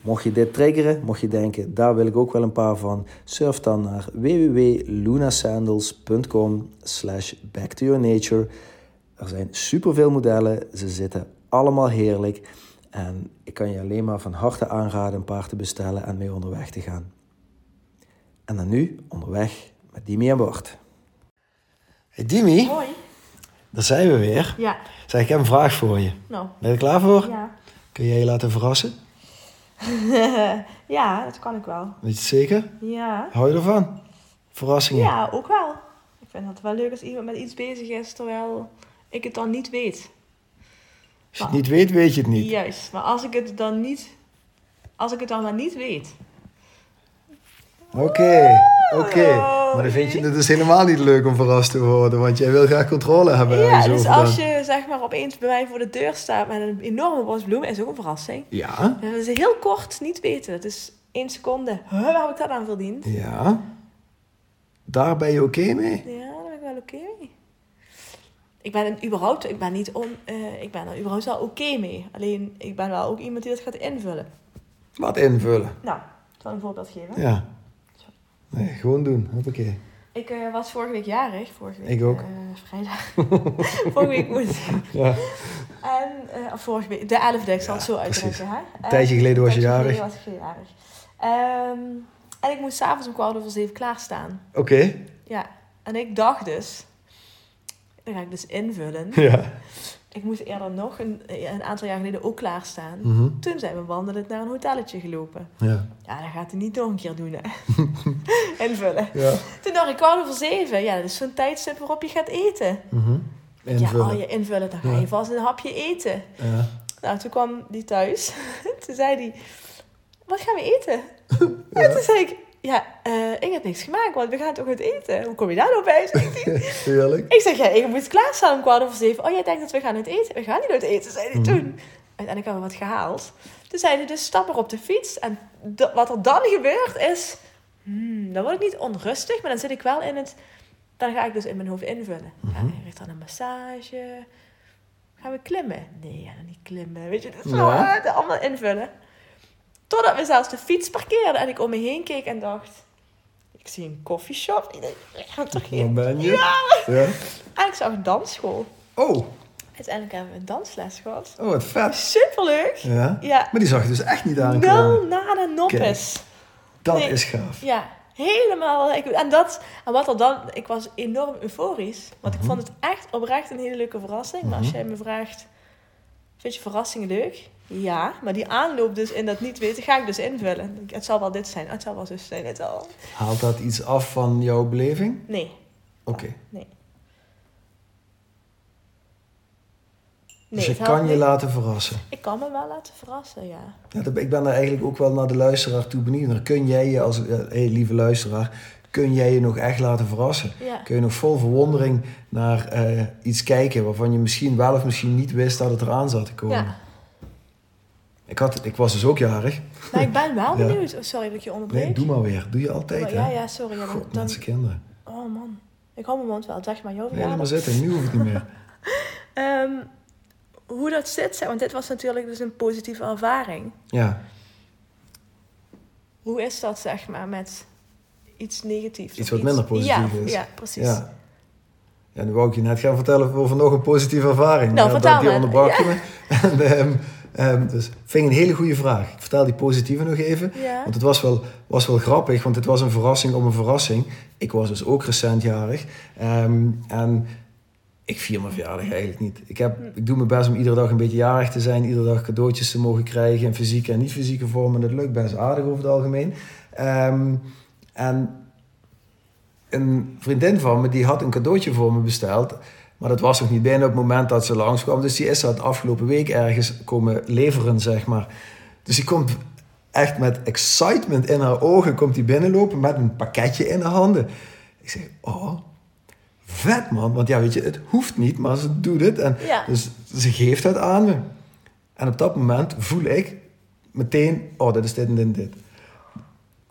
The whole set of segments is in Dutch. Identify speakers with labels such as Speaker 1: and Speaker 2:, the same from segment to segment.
Speaker 1: mocht je dit triggeren, mocht je denken, daar wil ik ook wel een paar van, surf dan naar www.lunasandals.com slash back to your nature er zijn superveel modellen. Ze zitten allemaal heerlijk. En ik kan je alleen maar van harte aanraden een paar te bestellen en mee onderweg te gaan. En dan nu onderweg met Dimi aan boord. Hey Dimi,
Speaker 2: Mooi.
Speaker 1: daar zijn we weer.
Speaker 2: Ja.
Speaker 1: Zeg, ik heb een vraag voor je.
Speaker 2: Nou.
Speaker 1: Ben je er klaar voor?
Speaker 2: Ja.
Speaker 1: Kun jij je laten verrassen?
Speaker 2: ja, dat kan ik wel.
Speaker 1: Weet je het zeker?
Speaker 2: Ja.
Speaker 1: Hou je ervan? Verrassingen?
Speaker 2: Ja, ook wel. Ik vind het wel leuk als iemand met iets bezig is terwijl ik het dan niet weet.
Speaker 1: Als je het niet weet, weet je het niet.
Speaker 2: Juist, maar als ik het dan niet, als ik het dan maar niet weet.
Speaker 1: Oké, oké. Maar dan vind je het dus helemaal niet leuk om verrast te worden, want jij wil graag controle hebben.
Speaker 2: Ja,
Speaker 1: ergens
Speaker 2: dus
Speaker 1: over
Speaker 2: als
Speaker 1: dan.
Speaker 2: je zeg maar opeens bij mij voor de deur staat met een enorme bos bloemen, is ook een verrassing.
Speaker 1: Ja,
Speaker 2: En Dat is heel kort niet weten. Het is één seconde. Huh, waar heb ik dat aan verdiend?
Speaker 1: Ja. Daar ben je oké mee?
Speaker 2: Ja, daar ben ik wel oké mee. Ik ben, een- überhaupt, ik ben, niet on, eh, ik ben er überhaupt wel oké mee. Alleen, ik ben wel ook iemand die dat gaat invullen.
Speaker 1: Wat invullen.
Speaker 2: Nou, ik zal een voorbeeld geven.
Speaker 1: Ja. Nee, gewoon doen. Hoppakee.
Speaker 2: Ik eh, was vorige week jarig. Vorige week,
Speaker 1: Ik ook.
Speaker 2: eh, vrijdag. vorige week woensdag.
Speaker 1: Ja.
Speaker 2: En, eh, of vorige week, de 11e, ik zal het zo
Speaker 1: precies.
Speaker 2: uitdrukken. Hè? Een
Speaker 1: tijdje geleden was je
Speaker 2: geleden was ik jarig. Ehm, en ik moest s'avonds om kwart over zeven klaarstaan.
Speaker 1: Oké.
Speaker 2: Ja, en ik dacht dus... Dan ga ik dus invullen.
Speaker 1: Ja.
Speaker 2: Ik moest eerder nog een, een aantal jaar geleden ook klaarstaan.
Speaker 1: Mhm.
Speaker 2: Toen zijn we wandelend naar een hotelletje gelopen.
Speaker 1: Ja.
Speaker 2: Ja, dat gaat hij niet nog een keer doen, hè. invullen.
Speaker 1: Ja.
Speaker 2: Toen dacht ik kwart over zeven. Ja, dat is zo'n tijdstip waarop je gaat eten.
Speaker 1: Mhm.
Speaker 2: Ja, oh
Speaker 1: Invullen.
Speaker 2: al je invullen, dan ga
Speaker 1: Ja.
Speaker 2: je vast een hapje eten.
Speaker 1: Ja.
Speaker 2: Nou, toen kwam die thuis. toen zei hij, wat gaan we eten? En toen zei ik, ja, eh, ik heb niks gemaakt, want we gaan toch uit eten? Hoe kom je daar nou bij? zei ik.
Speaker 1: Heerlijk.
Speaker 2: ik zeg, ja, ik moet klaarstaan om kwart over zeven. Oh, jij denkt dat we gaan uit eten? We gaan niet uit eten, zei hij toen. Uiteindelijk hebben we wat gehaald. Toen zei hij, dus stap maar op de fiets. En d- wat er dan gebeurt is, hmm, dan word ik niet onrustig, maar dan zit ik wel in het... Dan ga ik dus in mijn hoofd invullen. Ja, ik krijg dan een massage. Gaan we klimmen? Nee, ja, dan niet klimmen. Weet je, dat is zo,
Speaker 1: Ja.
Speaker 2: hè, allemaal invullen. Totdat we zelfs de fiets parkeerden en ik om me heen keek en dacht... Ik zie een koffieshop. Ik denk, ik ga toch
Speaker 1: Waar
Speaker 2: geen...
Speaker 1: ben je? Ja.
Speaker 2: En ik zag een dansschool.
Speaker 1: Oh,
Speaker 2: Uiteindelijk hebben we een dansles gehad.
Speaker 1: oh, wat vet.
Speaker 2: Superleuk!
Speaker 1: Ja.
Speaker 2: Ja,
Speaker 1: Maar die zag je dus echt niet aankomen.
Speaker 2: nul nada noppes.
Speaker 1: Dat
Speaker 2: nee.
Speaker 1: is gaaf.
Speaker 2: Ja, helemaal. Ik, en, dat, en wat er dan... Ik was enorm euforisch. Want
Speaker 1: Mhm.
Speaker 2: ik vond het echt oprecht een hele leuke verrassing. Maar als jij me vraagt... Vind je verrassingen leuk? Ja, maar die aanloop dus in dat niet weten ga ik dus invullen. Ik denk, Het zal wel dit zijn, het zal wel zo zijn, het zal...
Speaker 1: Haalt dat iets af van jouw beleving?
Speaker 2: Nee,
Speaker 1: Oké.
Speaker 2: nee.
Speaker 1: Dus
Speaker 2: het
Speaker 1: je
Speaker 2: helpt
Speaker 1: kan je
Speaker 2: niet.
Speaker 1: laten verrassen.
Speaker 2: Ik kan me wel laten verrassen, ja.
Speaker 1: Ja, dat- ik ben daar eigenlijk ook wel naar de luisteraar toe benieuwd. naar. Kun jij je als eh, hey, lieve luisteraar, kun jij je nog echt laten verrassen?
Speaker 2: Ja.
Speaker 1: Kun je nog vol verwondering naar eh, iets kijken waarvan je misschien wel of misschien niet wist dat het eraan zat te komen?
Speaker 2: Ja.
Speaker 1: Ik, had, ik was dus ook jarig.
Speaker 2: Maar ik ben wel
Speaker 1: Ja.
Speaker 2: benieuwd. Oh, sorry dat ik je onderbreek.
Speaker 1: Nee, doe maar weer. Doe je altijd,
Speaker 2: Oh, ja,
Speaker 1: hè?
Speaker 2: ja, sorry. ja, dan-
Speaker 1: God,
Speaker 2: dan,
Speaker 1: mensen, kinderen.
Speaker 2: oh man, ik hou mijn mond wel. Zeg maar, jouw
Speaker 1: Nee, laat maar
Speaker 2: verjaardag.
Speaker 1: zitten. Nu hoeft het niet meer.
Speaker 2: Ehm, hoe dat zit. zeg, Want dit was natuurlijk dus een positieve ervaring.
Speaker 1: Ja,
Speaker 2: Hoe is dat, zeg maar, met iets negatiefs?
Speaker 1: Iets
Speaker 2: of
Speaker 1: wat minder positief
Speaker 2: ja,
Speaker 1: is.
Speaker 2: Ja, precies.
Speaker 1: ja. Ja, nu wou ik je net gaan vertellen over nog een positieve ervaring.
Speaker 2: Nou,
Speaker 1: maar dat-
Speaker 2: vertel
Speaker 1: die
Speaker 2: maar.
Speaker 1: onderbrak je me. En, ehm, ehm, dus vind ik een hele goede vraag. Ik vertel die positieve nog even.
Speaker 2: Ja.
Speaker 1: Want het was wel, was wel grappig, want het was een verrassing om een verrassing. Ik was dus ook recent jarig. Ehm, en ik vier mijn verjaardag eigenlijk niet. Ik, heb, ik doe mijn best om iedere dag een beetje jarig te zijn. Iedere dag cadeautjes te mogen krijgen in fysieke en niet-fysieke vorm. En dat lukt best aardig over het algemeen. Ehm, en een vriendin van me, die had een cadeautje voor me besteld. Maar dat was nog niet bijna op het moment dat ze langskwam. Dus die is dat afgelopen week ergens komen leveren, zeg maar. Dus die komt echt met excitement in haar ogen komt die binnenlopen met een pakketje in haar handen. Ik zeg, oh, vet man. Want ja, weet je, het hoeft niet, maar ze doet het. En
Speaker 2: Ja.
Speaker 1: Dus ze geeft dat aan me. En op dat moment voel ik meteen, oh, dat is dit en dit en dit.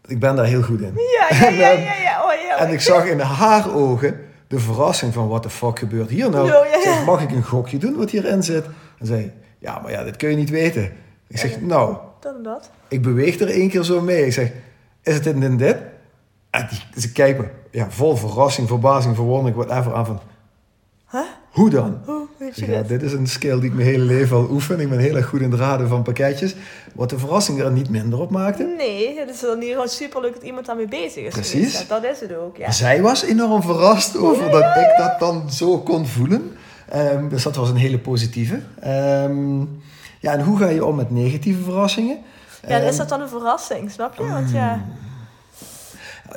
Speaker 1: Ik ben daar heel goed in.
Speaker 2: Ja, ja, ja, ja, ja. Oh, ja.
Speaker 1: En ik zag in haar ogen de verrassing van... wat de fuck gebeurt hier nou?
Speaker 2: Oh, Ja, ja,
Speaker 1: Ik zeg,
Speaker 2: ja.
Speaker 1: mag ik een gokje doen wat hierin zit? En zei, ja, maar ja, dat kun je niet weten. Ik zeg, nou,
Speaker 2: Dan dat.
Speaker 1: ik beweeg er één keer zo mee. Ik zeg, is het dit en dit en dit? En die, ze kijkt me ja, vol verrassing, verbazing, verwondering, whatever aan van...
Speaker 2: Huh?
Speaker 1: Hoe dan?
Speaker 2: Hoe weet
Speaker 1: Ik
Speaker 2: je
Speaker 1: zeg, ja,
Speaker 2: dat?
Speaker 1: dit is een skill die ik mijn hele leven al oefen. Ik ben heel erg goed in het raden van pakketjes. Wat de verrassing er niet minder op maakte.
Speaker 2: Nee, het is dan hier gewoon superleuk dat iemand daarmee bezig is.
Speaker 1: Precies. Dus,
Speaker 2: geweest. Ja, dat is het ook, ja.
Speaker 1: Zij was enorm verrast over dat ik dat dan zo kon voelen. Ehm, dus dat was een hele positieve. Ehm, ja, en hoe ga je om met negatieve verrassingen?
Speaker 2: Ja, dan
Speaker 1: Ehm, Mm,
Speaker 2: is dat dan een verrassing, snap je? Want ja,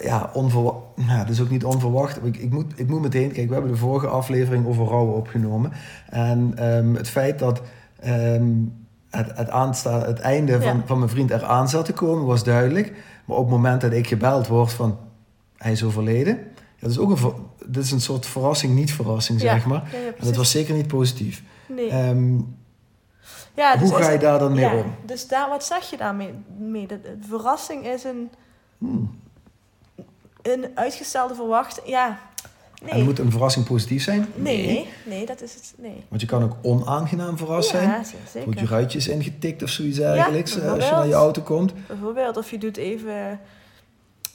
Speaker 1: ja, onverwacht. Nou, dat is ook niet onverwacht. Ik, ik, moet, ik moet meteen. Kijk, we hebben de vorige aflevering over rouwen opgenomen. En ehm, het feit dat ehm, het, het, aansta, het einde van,
Speaker 2: Ja.
Speaker 1: van mijn vriend eraan zat te komen, was duidelijk. Maar op het moment dat ik gebeld word van hij is overleden. Ja, dat is ook een, ver- dat is een soort verrassing, niet verrassing,
Speaker 2: Ja.
Speaker 1: zeg maar.
Speaker 2: Ja, ja,
Speaker 1: En dat
Speaker 2: precies.
Speaker 1: was zeker niet positief.
Speaker 2: nee.
Speaker 1: Ehm,
Speaker 2: ja, dus
Speaker 1: hoe
Speaker 2: is
Speaker 1: ga je
Speaker 2: het-
Speaker 1: daar dan mee
Speaker 2: ja,
Speaker 1: om?
Speaker 2: Dus daar, wat zeg je daarmee? Mee? Dat, het verrassing is een,
Speaker 1: Hmm.
Speaker 2: een uitgestelde verwachting. Ja,
Speaker 1: En
Speaker 2: nee.
Speaker 1: moet een verrassing positief zijn?
Speaker 2: nee. Nee, dat is het. Nee.
Speaker 1: Want je kan ook onaangenaam verrast zijn.
Speaker 2: Ja,
Speaker 1: Er Wordt je
Speaker 2: zeker.
Speaker 1: ruitjes ingetikt of zoiets eigenlijk, eh, als je
Speaker 2: bijvoorbeeld.
Speaker 1: naar je auto komt.
Speaker 2: Bijvoorbeeld, of je doet even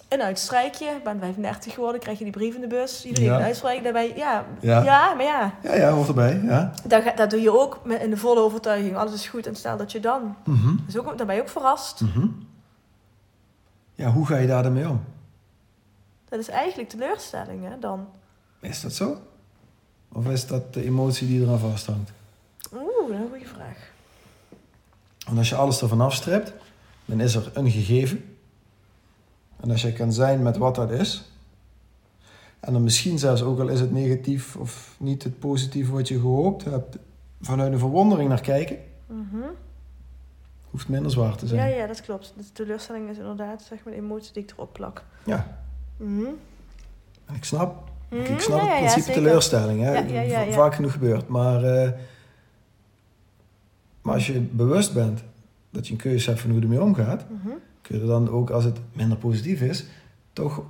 Speaker 2: een uitstrijkje. Ik ben 35 geworden, krijg je die brief in de bus. Iedereen
Speaker 1: Ja.
Speaker 2: een uitstrijkje. Daarbij, ja,
Speaker 1: Ja.
Speaker 2: ja. maar ja.
Speaker 1: Ja, ja, hoort erbij, ja.
Speaker 2: Dat, ga- dat doe je ook met, in de volle overtuiging. Alles is goed en stel dat je dan...
Speaker 1: Mhm,
Speaker 2: Dus ook, dan ben je ook verrast.
Speaker 1: mhm. Ja, hoe ga je daar dan mee om?
Speaker 2: Dat is eigenlijk teleurstelling, hè, dan.
Speaker 1: Is dat zo? Of is dat de emotie die eraan vasthangt?
Speaker 2: Oeh, dat is een goede vraag.
Speaker 1: Want als je alles ervan afstrept, dan is er een gegeven. En als je kan zijn met wat dat is, en dan misschien zelfs ook al is het negatief of niet het positieve wat je gehoopt hebt, vanuit een verwondering naar kijken,
Speaker 2: Mhm.
Speaker 1: hoeft minder zwaar te zijn.
Speaker 2: Ja, ja, dat klopt. De teleurstelling is inderdaad zeg maar, de emotie die ik erop plak.
Speaker 1: Ja.
Speaker 2: Mhm.
Speaker 1: En ik snap
Speaker 2: Mhm,
Speaker 1: Ik snap
Speaker 2: ja,
Speaker 1: het
Speaker 2: ja, ja,
Speaker 1: principe
Speaker 2: zeker.
Speaker 1: teleurstelling. Hè?
Speaker 2: Ja, ja, ja, ja.
Speaker 1: V- Vaak genoeg gebeurt. Maar, eh, maar als je bewust bent dat je een keuze hebt van hoe je ermee omgaat,
Speaker 2: Mhm.
Speaker 1: kun je er dan ook als het minder positief is, toch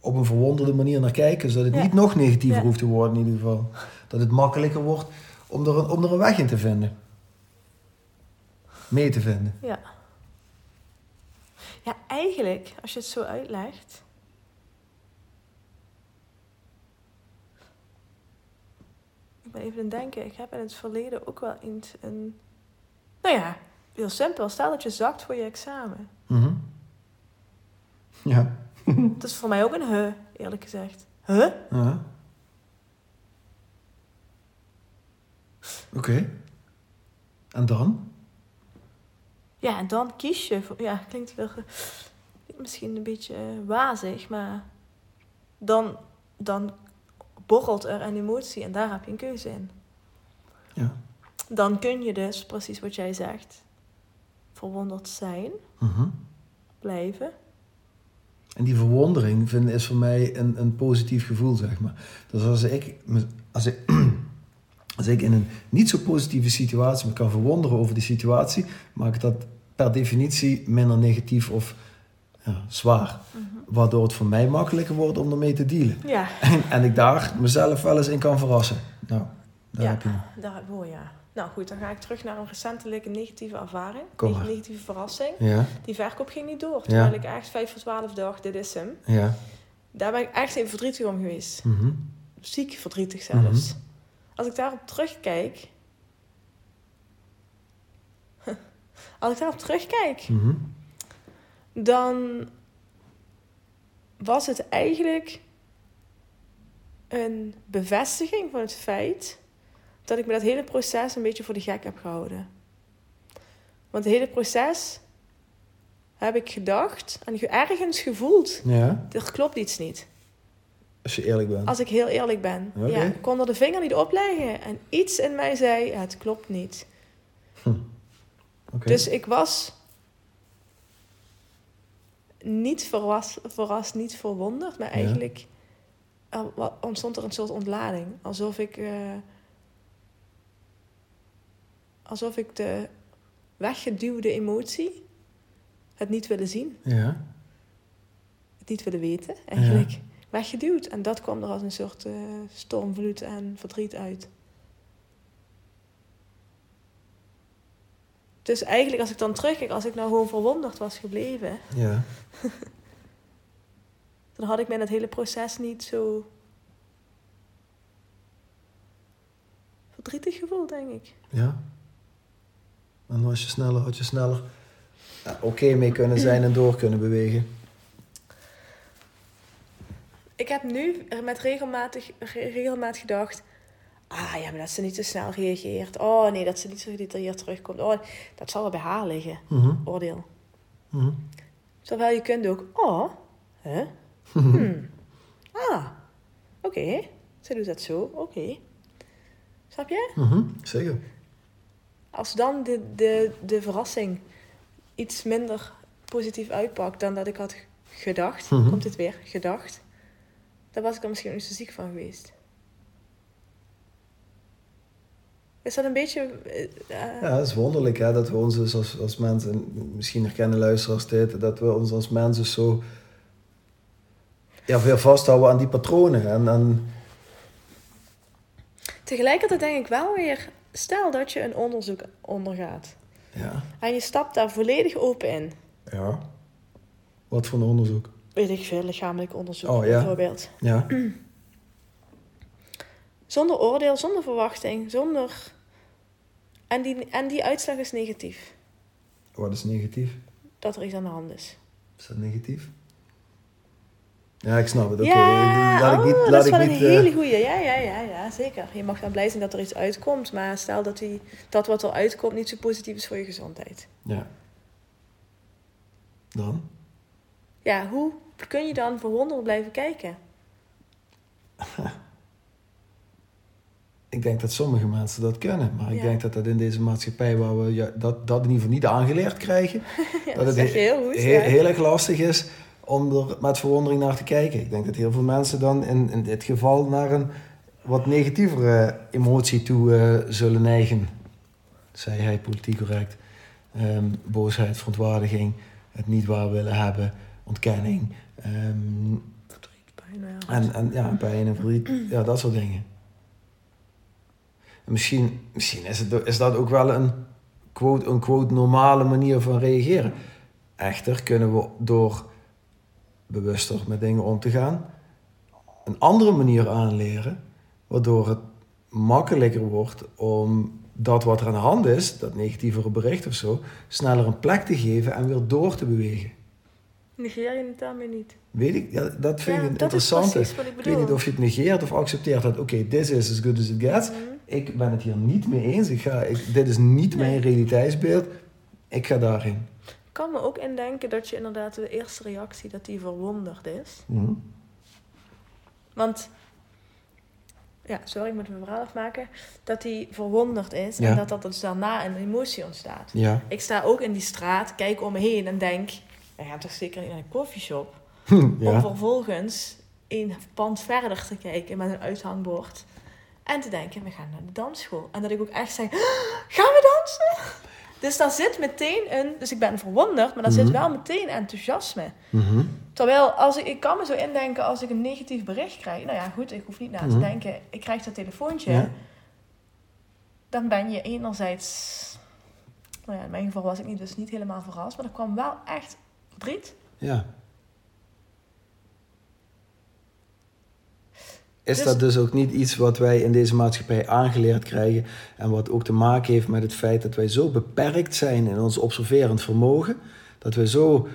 Speaker 1: op een verwonderde manier naar kijken. Zodat het
Speaker 2: Ja.
Speaker 1: niet nog negatiever
Speaker 2: Ja.
Speaker 1: hoeft te worden in ieder geval. Dat het makkelijker wordt om er, een, om er een weg in te vinden. Mee te vinden.
Speaker 2: Ja. Ja, eigenlijk, als je het zo uitlegt. Ik ben even aan het denken, ik heb in het verleden ook wel eens een. Nou ja, heel simpel. Stel dat je zakt voor je examen.
Speaker 1: Mhm. Ja.
Speaker 2: Dat is voor mij ook een he, eerlijk gezegd. Huh?
Speaker 1: ja. Oké. En dan?
Speaker 2: Ja, en dan kies je voor. Ja, klinkt wel. ge- Misschien een beetje eh, wazig, maar. Dan, dan borrelt er een emotie en daar heb je een keuze in.
Speaker 1: Ja.
Speaker 2: Dan kun je dus, precies wat jij zegt, verwonderd zijn,
Speaker 1: Mhm.
Speaker 2: blijven.
Speaker 1: En die verwondering vind, is voor mij een, een positief gevoel, zeg maar. Dus als ik, me- als, ik, als ik in een niet zo positieve situatie me kan verwonderen over die situatie, maakt dat per definitie minder negatief of ja, zwaar. Waardoor het voor mij makkelijker wordt om ermee te dealen.
Speaker 2: Ja,
Speaker 1: En, en ik daar mezelf wel eens in kan verrassen. Nou, Daar
Speaker 2: ja,
Speaker 1: heb je hem.
Speaker 2: daar heb oh ja. Nou goed, dan ga ik terug naar een recentelijke negatieve ervaring.
Speaker 1: Kom
Speaker 2: Neg-
Speaker 1: maar.
Speaker 2: negatieve verrassing.
Speaker 1: Ja,
Speaker 2: Die verkoop ging niet door. Terwijl
Speaker 1: Ja.
Speaker 2: ik echt 5 voor 12 dacht, dit is hem.
Speaker 1: ja.
Speaker 2: Daar ben ik echt even verdrietig om geweest.
Speaker 1: mhm.
Speaker 2: Ziek verdrietig zelfs. Als ik daarop terugkijk... Als ik daarop terugkijk,
Speaker 1: Mhm.
Speaker 2: dan was het eigenlijk een bevestiging van het feit dat ik me dat hele proces een beetje voor de gek heb gehouden. Want het hele proces heb ik gedacht en ge- ergens gevoeld,
Speaker 1: Ja,
Speaker 2: er klopt iets niet.
Speaker 1: als je eerlijk bent.
Speaker 2: Als ik heel eerlijk ben.
Speaker 1: Oké.
Speaker 2: Ja, ik kon er de vinger niet op leggen en iets in mij zei, het klopt niet.
Speaker 1: Oké.
Speaker 2: Dus ik was niet verrast, verrast niet verwonderd, maar
Speaker 1: Ja.
Speaker 2: eigenlijk er wa- ontstond er een soort ontlading. Alsof ik, eh, alsof ik de weggeduwde emotie, het niet willen zien,
Speaker 1: Ja,
Speaker 2: het niet willen weten, eigenlijk weggeduwd. En dat kwam er als een soort eh, stormvloed en verdriet uit. Dus eigenlijk, als ik dan terugkijk, als ik nou gewoon verwonderd was gebleven,
Speaker 1: ja.
Speaker 2: dan had ik mij dat hele proces niet zo verdrietig gevoeld, denk ik.
Speaker 1: Ja. En was je sneller, had je sneller eh, oké mee kunnen zijn en door kunnen bewegen.
Speaker 2: Ik heb nu er met regelmatig, re- regelmatig gedacht. Ah ja, maar dat ze niet zo snel reageert. Oh nee, dat ze niet zo gedetailleerd terugkomt. Oh, dat zal wel bij haar liggen.
Speaker 1: Mhm,
Speaker 2: Oordeel.
Speaker 1: mhm.
Speaker 2: Terwijl je kunt ook, oh, hè? Hmm. Ah, oké. Ze doet dat zo, oké. Snap je?
Speaker 1: Mhm, Zeker.
Speaker 2: Als dan de, de, de verrassing iets minder positief uitpakt dan dat ik had gedacht,
Speaker 1: Mhm.
Speaker 2: komt het weer, gedacht, dan was ik er misschien ook niet zo ziek van geweest. Is dat een beetje. eh, eh,
Speaker 1: Ja, het is wonderlijk hè, dat we ons dus als, als mensen, misschien herkennen luisteraars dit, dat we ons als mensen zo ja, veel vasthouden aan die patronen. En, en
Speaker 2: Tegelijkertijd denk ik wel weer, stel dat je een onderzoek ondergaat
Speaker 1: ja,
Speaker 2: en je stapt daar volledig open in.
Speaker 1: ja. Wat voor een onderzoek.
Speaker 2: weet ik veel, lichamelijk onderzoek
Speaker 1: Oh, ja.
Speaker 2: bijvoorbeeld.
Speaker 1: Ja,
Speaker 2: Zonder oordeel, zonder verwachting, zonder... En die, en die uitslag is negatief,
Speaker 1: wat is negatief?
Speaker 2: dat er iets aan de hand is.
Speaker 1: Is dat negatief? Ja, ik snap het. Oké,
Speaker 2: Ja,
Speaker 1: laat ik niet,
Speaker 2: oh,
Speaker 1: laat
Speaker 2: dat is
Speaker 1: ik
Speaker 2: wel
Speaker 1: niet,
Speaker 2: een
Speaker 1: eh,
Speaker 2: hele goeie. Ja, ja, ja, ja, zeker. Je mag dan blij zijn dat er iets uitkomt, maar stel dat die, dat wat er uitkomt niet zo positief is voor je gezondheid.
Speaker 1: Ja. Dan?
Speaker 2: Ja, hoe kun je dan verwonderd blijven kijken?
Speaker 1: Ik denk dat sommige mensen dat kunnen, maar ik
Speaker 2: Ja.
Speaker 1: denk dat dat in deze maatschappij waar we ja, dat, dat in ieder geval niet aangeleerd krijgen,
Speaker 2: Ja,
Speaker 1: Dat
Speaker 2: dat
Speaker 1: het
Speaker 2: zeg je heel goed.
Speaker 1: heel,
Speaker 2: ja.
Speaker 1: heel erg lastig is om er met verwondering naar te kijken. Ik denk dat heel veel mensen dan in, in dit geval naar een wat negatievere emotie toe eh, zullen neigen. Zei hij politiek correct. Ehm, boosheid, verontwaardiging, het niet waar willen hebben, ontkenning. ehm,
Speaker 2: Verdriet, pijn, ja.
Speaker 1: En, en ja, pijn en verdriet, ja, dat soort dingen. En misschien misschien is, het, is dat ook wel een quote-unquote normale manier van reageren. Echter kunnen we door bewuster met dingen om te gaan, een andere manier aanleren, waardoor het makkelijker wordt om dat wat er aan de hand is, dat negatievere bericht of zo, sneller een plek te geven en weer door te bewegen.
Speaker 2: Negeer je het daarmee niet?
Speaker 1: Weet ik, ja, dat vind
Speaker 2: ja,
Speaker 1: ik een
Speaker 2: dat is
Speaker 1: interessante.
Speaker 2: precies wat ik
Speaker 1: Ik
Speaker 2: bedoel.
Speaker 1: weet niet of je het negeert of accepteert dat, oké, dit is as good as it gets.
Speaker 2: Mhm.
Speaker 1: Ik ben het hier niet mee eens. Ik ga, ik, dit is niet
Speaker 2: Nee.
Speaker 1: mijn realiteitsbeeld. Ik ga daarin.
Speaker 2: Ik kan me ook indenken dat je inderdaad de eerste reactie dat die verwonderd is.
Speaker 1: Mhm.
Speaker 2: Want, ja, sorry, ik moet mijn verhaal afmaken. Dat die verwonderd is
Speaker 1: Ja.
Speaker 2: en dat dat dus daarna een emotie ontstaat.
Speaker 1: Ja.
Speaker 2: Ik sta ook in die straat, kijk om me heen en denk... nou We gaan toch zeker niet naar een koffieshop? Om
Speaker 1: ja.
Speaker 2: vervolgens een pand verder te kijken met een uithangbord. En te denken, we gaan naar de dansschool. En dat ik ook echt zeg, "Ah, gaan we dansen? Dus daar zit meteen een... Dus ik ben verwonderd, maar daar
Speaker 1: Mhm.
Speaker 2: zit wel meteen enthousiasme.
Speaker 1: Mhm.
Speaker 2: Terwijl, als ik, ik kan me zo indenken als ik een negatief bericht krijg. Nou ja, goed, ik hoef niet na te
Speaker 1: Mhm.
Speaker 2: denken. Ik krijg dat telefoontje.
Speaker 1: Ja.
Speaker 2: dan ben je enerzijds... Nou ja, in mijn geval was ik niet, dus niet helemaal verrast. Maar er kwam wel echt verdriet.
Speaker 1: Ja. Is
Speaker 2: Dus-
Speaker 1: dat dus ook niet iets wat wij in deze maatschappij aangeleerd krijgen en wat ook te maken heeft met het feit dat wij zo beperkt zijn in ons observerend vermogen, dat we zo,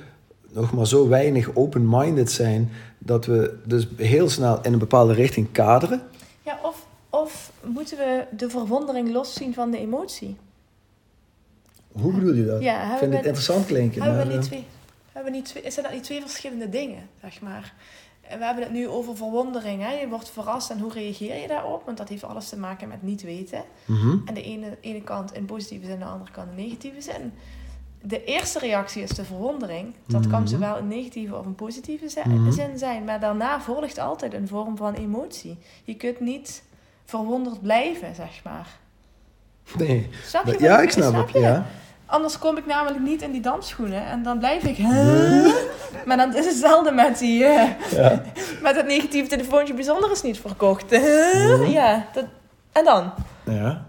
Speaker 1: nog maar zo weinig open-minded zijn, dat we dus heel snel in een bepaalde richting kaderen?
Speaker 2: Ja, of, of moeten we de verwondering loszien van de emotie?
Speaker 1: Hoe bedoel je dat?
Speaker 2: Ja,
Speaker 1: Ik
Speaker 2: hebben
Speaker 1: vind
Speaker 2: we
Speaker 1: het interessant klinken.
Speaker 2: Hebben we
Speaker 1: maar,
Speaker 2: niet
Speaker 1: eh,
Speaker 2: twee, hebben we niet twee, zijn dat niet twee verschillende dingen, zeg maar? En we hebben het nu over verwondering. Hè? Je wordt verrast en hoe reageer je daarop? Want dat heeft alles te maken met niet weten.
Speaker 1: mhm.
Speaker 2: En de ene, ene kant in positieve zin, de andere kant in negatieve zin. De eerste reactie is de verwondering. Dat
Speaker 1: Mhm.
Speaker 2: kan zowel een negatieve of een positieve zi-
Speaker 1: Mhm.
Speaker 2: zin zijn. Maar daarna volgt altijd een vorm van emotie. Je kunt niet verwonderd blijven, zeg maar.
Speaker 1: Nee.
Speaker 2: Snap je? wat
Speaker 1: Ja, ik snap,
Speaker 2: je?
Speaker 1: het. Ja.
Speaker 2: Anders kom ik namelijk niet in die dansschoenen. En dan blijf ik... hè? Maar dan is hetzelfde met die... eh,
Speaker 1: Mhm. Ja.
Speaker 2: met het negatieve telefoontje bijzonder is niet verkocht. hè?
Speaker 1: Mhm.
Speaker 2: Ja, dat, en dan?
Speaker 1: Ja.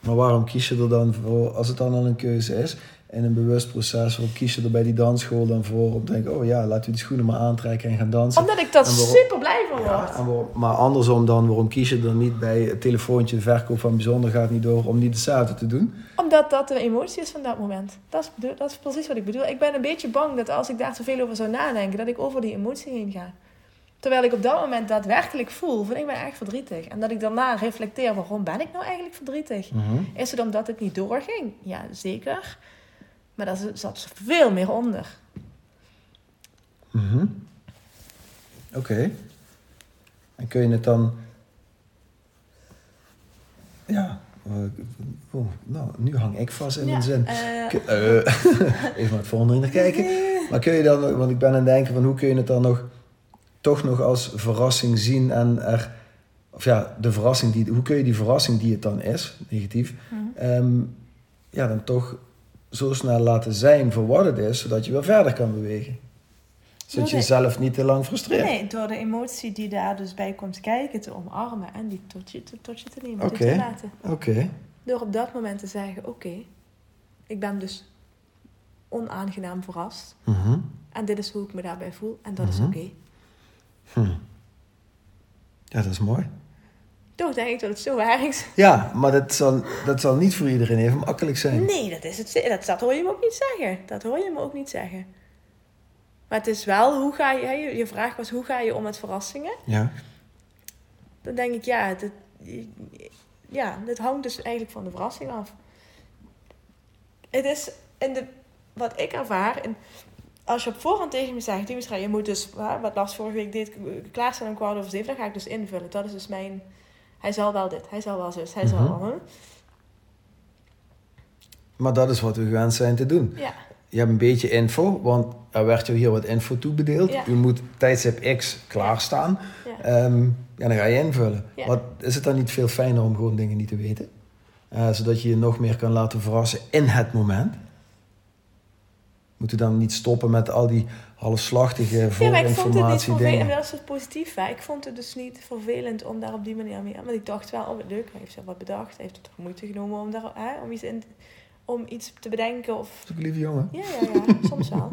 Speaker 1: Maar waarom kies je er dan voor, als het dan al een keuze is, in een bewust proces, waarom kies je er bij die dansschool dan voor om te denken, oh ja, laten we die schoenen maar aantrekken en gaan dansen?
Speaker 2: Omdat ik dat
Speaker 1: En waarom-
Speaker 2: super blij van word.
Speaker 1: Ja, en waarom- maar andersom dan, waarom kies je er niet bij het telefoontje, de verkoop van bijzonder gaat niet door, om niet hetzelfde te doen?
Speaker 2: Omdat dat de emotie is van dat moment. Dat is, bedoel- dat is precies wat ik bedoel. Ik ben een beetje bang dat als ik daar te veel over zou nadenken, dat ik over die emotie heen ga. Terwijl ik op dat moment daadwerkelijk voel van ik ben echt verdrietig. En dat ik daarna reflecteer, waarom ben ik nou eigenlijk verdrietig? Is het omdat het niet doorging? Ja, zeker. Maar daar z- zat veel meer onder.
Speaker 1: Mhm. Oké. En kun je het dan... Ja, eh, oh, nou, nu hang ik vast in mijn zin.
Speaker 2: eh,
Speaker 1: Kun- eh, even naar het volgende naar kijken. Maar kun je dan, nog- want ik ben aan het denken van hoe kun je het dan nog toch nog als verrassing zien en er, of ja, de verrassing die, hoe kun je die verrassing die het dan is, negatief,
Speaker 2: Mhm.
Speaker 1: ehm, ja, dan toch zo snel laten zijn voor wat het is, zodat je weer verder kan bewegen. Zodat je
Speaker 2: Doe de-
Speaker 1: jezelf niet te lang frustreert.
Speaker 2: Nee, door de emotie die daar dus bij komt kijken, te omarmen en die tot je te, tot je te nemen,
Speaker 1: Oké.
Speaker 2: okay. te laten.
Speaker 1: Oké.
Speaker 2: Door op dat moment te zeggen: Oké, ik ben dus onaangenaam verrast.
Speaker 1: Mhm.
Speaker 2: En dit is hoe ik me daarbij voel. En dat
Speaker 1: Mhm.
Speaker 2: is oké.
Speaker 1: Hm. Ja, dat is mooi.
Speaker 2: Toch denk ik dat het zo waar is.
Speaker 1: Ja, maar dat zal, dat zal niet voor iedereen even makkelijk zijn.
Speaker 2: Nee, dat, is het, ze- dat, dat hoor je me ook niet zeggen. Dat hoor je me ook niet zeggen. Maar het is wel, hoe ga je, hè, je, je vraag was hoe ga je om met verrassingen?
Speaker 1: Ja.
Speaker 2: Dan denk ik, ja, dit, ja, dit hangt dus eigenlijk van de verrassing af. Het is, in de, wat ik ervaar, in, als je op voorhand tegen me zegt, Dimitra, je moet dus, hè, wat Lars vorige week deed, klaarstaan om kwart over zeven, dan ga ik dus invullen. Dat is dus mijn, hij zal wel dit, hij zal wel zus, hij
Speaker 1: Mhm.
Speaker 2: zal wel, hè?
Speaker 1: Maar dat is wat we gewend zijn te doen.
Speaker 2: Ja.
Speaker 1: Je hebt een beetje info, want er werd jou hier wat info toebedeeld.
Speaker 2: Ja.
Speaker 1: U moet tijdstip X klaarstaan.
Speaker 2: Ja.
Speaker 1: Ehm, ja, dan ga je invullen.
Speaker 2: Ja.
Speaker 1: Wat, is het dan niet veel fijner om gewoon dingen niet te weten? Eh, zodat je je nog meer kan laten verrassen in het moment. Moeten we dan niet stoppen met al die halfslachtige
Speaker 2: Ja, maar ik vond het niet
Speaker 1: voorinformatie
Speaker 2: vervelend.
Speaker 1: dingen?
Speaker 2: En dat is het positief. Hè? Ik vond het dus niet vervelend om daar op die manier mee aan. Want ik dacht wel, oh wat leuk, hij heeft zelf wat bedacht. Hij heeft toch moeite genomen om, daar, hè? om, iets, in, om iets te bedenken. Of...
Speaker 1: Dat is ook een lieve jongen.
Speaker 2: Ja, ja, ja, soms wel.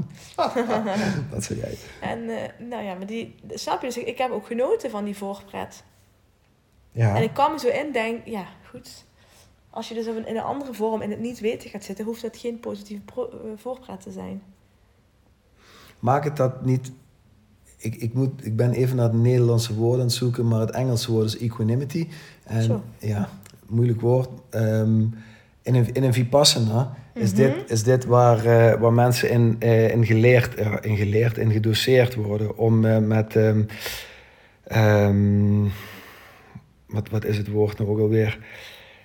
Speaker 1: Dat zei jij.
Speaker 2: En eh, nou ja, maar die, snap je? Dus ik, ik heb ook genoten van die voorpret.
Speaker 1: Ja.
Speaker 2: En ik kwam er zo in, denk, ja, goed. Als je dus op een, in een andere vorm in het niet weten gaat zitten, hoeft dat geen positieve pro- eh, voorpret te zijn.
Speaker 1: maak het dat niet. Ik, ik, moet, ik ben even naar het Nederlandse woord aan het zoeken, maar het Engelse woord is equanimity. En
Speaker 2: Zo.
Speaker 1: ja, moeilijk woord. Ehm, in, een, in een Vipassana is,
Speaker 2: Mhm.
Speaker 1: dit, is dit waar, eh, waar mensen in, eh, in, geleerd, eh, in geleerd en gedoseerd worden om eh, met. ehm, ehm, wat, wat is het woord nou ook alweer?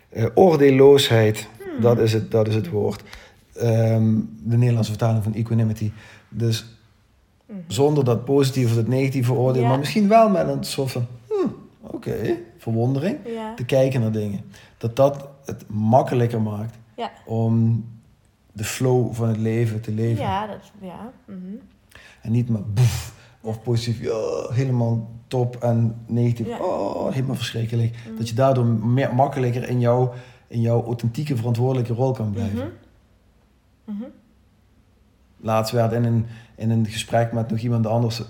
Speaker 1: Eh, oordeelloosheid,
Speaker 2: Hmm.
Speaker 1: dat, is het, dat is het woord. Ehm, de Nederlandse vertaling van equanimity. Dus
Speaker 2: Mhm.
Speaker 1: zonder dat positieve of dat negatieve oordeel,
Speaker 2: Ja.
Speaker 1: maar misschien wel met een soort van, hmm, oké, verwondering,
Speaker 2: Ja.
Speaker 1: te kijken naar dingen. Dat dat het makkelijker maakt
Speaker 2: Ja.
Speaker 1: om de flow van het leven te leven.
Speaker 2: Ja, dat, ja. mhm.
Speaker 1: En niet maar boef, Of positief, ja, helemaal top. En negatief,
Speaker 2: Ja.
Speaker 1: oh, helemaal verschrikkelijk. Dat je daardoor meer, makkelijker in jouw, in jouw authentieke verantwoordelijke rol kan blijven.
Speaker 2: Mhm. Mhm.
Speaker 1: Laatst werd in een, in een gesprek met nog iemand anders,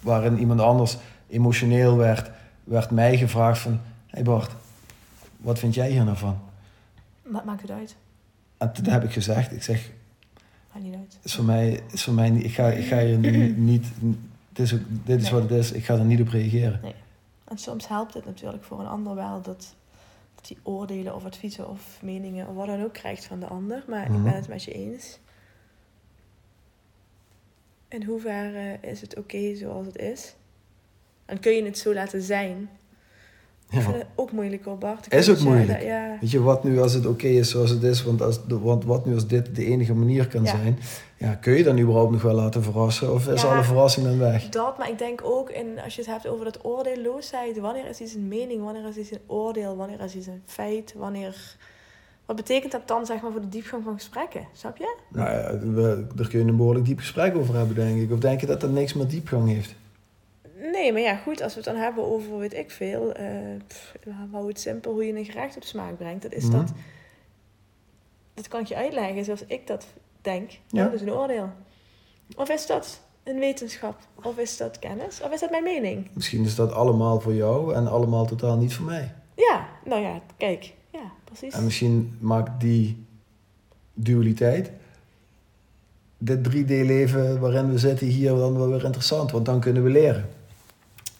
Speaker 1: waarin iemand anders emotioneel werd, werd mij gevraagd van, hey Bart, wat vind jij hier nou van?
Speaker 2: Ma- maakt het uit.
Speaker 1: En toen heb ik gezegd, ik zeg,
Speaker 2: Maakt niet uit.
Speaker 1: is voor mij, is voor mij niet- ik ga, ik ga je nu niet, het is ook, dit is
Speaker 2: Nee.
Speaker 1: wat het is, ik ga er niet op reageren.
Speaker 2: En soms helpt het natuurlijk voor een ander wel dat, dat die oordelen of adviezen of meningen of wat dan ook krijgt van de ander. Maar ik
Speaker 1: Mhm.
Speaker 2: ben het met je eens. In hoeverre is het oké zoals het is? En kun je het zo laten zijn? Ik vind
Speaker 1: Ja.
Speaker 2: het ook moeilijk hoor, Bart. Ik
Speaker 1: Is
Speaker 2: vind
Speaker 1: ook
Speaker 2: dat jij-
Speaker 1: moeilijk.
Speaker 2: dat- Ja,
Speaker 1: Weet je, wat nu als het oké is zoals het is, want, als, de- want wat nu als dit de enige manier kan
Speaker 2: Ja.
Speaker 1: zijn, ja, kun je dan überhaupt nog wel laten verrassen of is
Speaker 2: Ja.
Speaker 1: alle verrassing dan weg?
Speaker 2: dat, maar ik denk ook in, als je het hebt over dat oordeelloosheid. Wanneer is iets een mening? Wanneer is iets een oordeel? Wanneer is iets een feit? Wanneer... Wat betekent dat dan zeg maar, voor de diepgang van gesprekken? Snap je?
Speaker 1: Nou ja, we, daar kun je een behoorlijk diep gesprek over hebben, denk ik. Of denk je dat dat niks met diepgang heeft?
Speaker 2: Nee, maar ja, goed, als we het dan hebben over, weet ik veel, eh pff, hou het simpel hoe je een gerecht op smaak brengt. Dat is
Speaker 1: Mhm.
Speaker 2: dat, dat kan ik je uitleggen zoals ik dat denk.
Speaker 1: Ja.
Speaker 2: Dat is een oordeel. Of is dat een wetenschap? Of is dat kennis? Of is dat mijn mening?
Speaker 1: Misschien is dat allemaal voor jou en allemaal totaal niet voor mij.
Speaker 2: Ja, nou ja, kijk. Ja, precies.
Speaker 1: En misschien maakt die dualiteit dit 3D-leven waarin we zitten hier dan wel weer interessant, want dan kunnen we leren.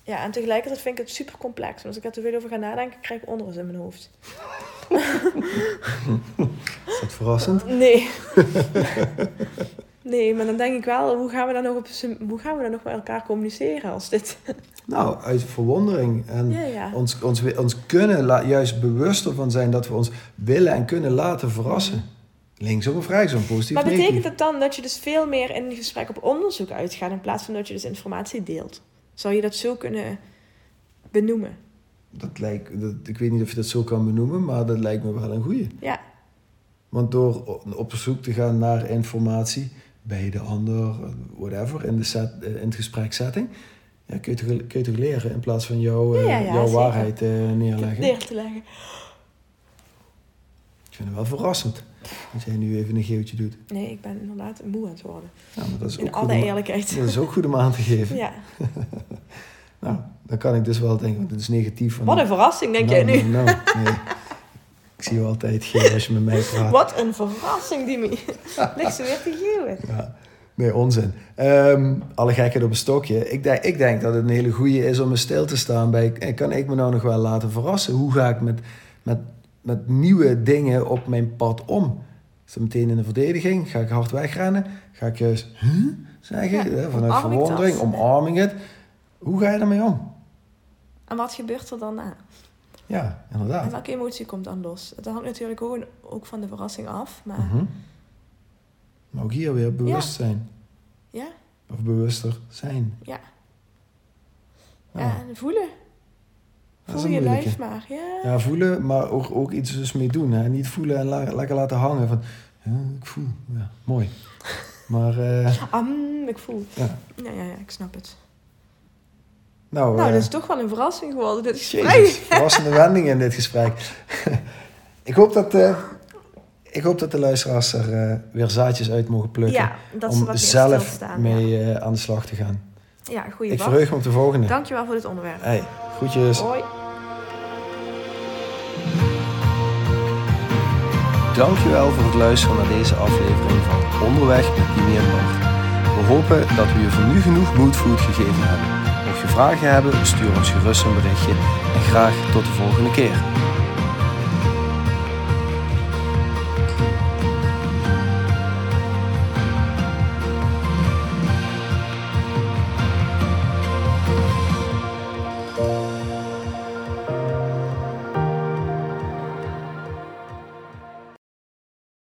Speaker 2: Ja, en tegelijkertijd vind ik het super complex. Want als ik er te veel over ga nadenken, krijg ik onrust in mijn hoofd.
Speaker 1: Is dat verrassend?
Speaker 2: Nee. nee, maar dan denk ik wel, hoe gaan we dan nog, op z'n- hoe gaan we dan nog met elkaar communiceren als dit...
Speaker 1: Nou, uit verwondering en
Speaker 2: Ja, ja.
Speaker 1: ons, ons, we- ons kunnen la- juist bewuster van zijn dat we ons willen en kunnen laten verrassen. Linksom of rechtsom, positief
Speaker 2: Maar betekent
Speaker 1: negatief.
Speaker 2: dat dan dat je dus veel meer in een gesprek op onderzoek uitgaat in plaats van dat je dus informatie deelt? Zou je dat zo kunnen benoemen?
Speaker 1: Dat lijkt, dat, ik weet niet of je dat zo kan benoemen, maar dat lijkt me wel een goeie.
Speaker 2: Ja,
Speaker 1: Want door o- op zoek te gaan naar informatie bij de ander, whatever, in, de set, eh, in het gespreksetting, ja, kun, je toch, kun je toch leren in plaats van jouw, eh,
Speaker 2: Ja, ja, ja,
Speaker 1: jouw
Speaker 2: zeker.
Speaker 1: waarheid eh, neerleggen.
Speaker 2: neer te leggen.
Speaker 1: Ik vind het wel verrassend dat jij nu even een geeltje doet.
Speaker 2: Nee, ik ben inderdaad moe aan het worden.
Speaker 1: Ja, maar dat, is
Speaker 2: In
Speaker 1: ook goed
Speaker 2: alle
Speaker 1: om,
Speaker 2: eerlijkheid.
Speaker 1: dat is ook goed om aan te geven.
Speaker 2: Ja.
Speaker 1: Nou, dan kan ik dus wel denken, want het is negatief. Van,
Speaker 2: Wat een verrassing, denk jij nu?
Speaker 1: Nou, nou, nee. Ik zie je altijd geel als je met mij praat.
Speaker 2: Wat een verrassing, Dimi. Ligt ze weer te geeuwen.
Speaker 1: Ja, nee, onzin. Ehm, alle gekheid op een stokje. Ik denk, ik denk dat het een hele goede is om eens stil te staan bij... eh, kan ik me nou nog wel laten verrassen? Hoe ga ik met, met, met nieuwe dingen op mijn pad om? Is dat meteen in de verdediging? Ga ik hard wegrennen? Ga ik juist huh? zeggen?
Speaker 2: Ja,
Speaker 1: Eh, vanuit
Speaker 2: omarm ik
Speaker 1: verwondering,
Speaker 2: dat?
Speaker 1: omarming het. Hoe ga je daarmee om?
Speaker 2: En wat gebeurt er dan na?
Speaker 1: Ja,
Speaker 2: En
Speaker 1: inderdaad.
Speaker 2: welke emotie komt dan los? Dat hangt natuurlijk ook, ook van de verrassing af. Maar
Speaker 1: Mhm. Maar ook hier weer bewust zijn.
Speaker 2: ja,
Speaker 1: Of bewuster zijn.
Speaker 2: Ja.
Speaker 1: Ja.
Speaker 2: ja, en voelen.
Speaker 1: dat is
Speaker 2: Voel
Speaker 1: een
Speaker 2: je
Speaker 1: moeilijke.
Speaker 2: lijf maar. Ja.
Speaker 1: Ja, voelen, maar ook, ook iets dus mee doen. Hè? Niet voelen en la- lekker laten hangen van... ja, ik voel, ja, mooi. Maar, eh,
Speaker 2: Am, ik voel.
Speaker 1: ja.
Speaker 2: Ja, ja, ja, ik snap het.
Speaker 1: Nou,
Speaker 2: Nou,
Speaker 1: eh,
Speaker 2: dat is toch wel een verrassing geworden, dit
Speaker 1: jezus,
Speaker 2: gesprek.
Speaker 1: verrassende wending in dit gesprek. ik, hoop dat, eh, ik hoop dat de luisteraars er eh, weer zaadjes uit mogen plukken.
Speaker 2: Ja, dat ze
Speaker 1: om
Speaker 2: wat meer
Speaker 1: zelf
Speaker 2: stilstaan.
Speaker 1: mee eh, aan de slag te gaan.
Speaker 2: Ja, ja goeie
Speaker 1: Ik
Speaker 2: Bart.
Speaker 1: verheug me op de volgende.
Speaker 2: Dankjewel voor dit onderwerp.
Speaker 1: Hey, groetjes.
Speaker 2: Hoi.
Speaker 1: Dankjewel voor het luisteren naar deze aflevering van Onderweg met Dimi en Bart. We hopen dat we je voor nu genoeg good food gegeven hebben. Mocht je vragen hebben, stuur ons gerust een berichtje en graag tot de volgende keer.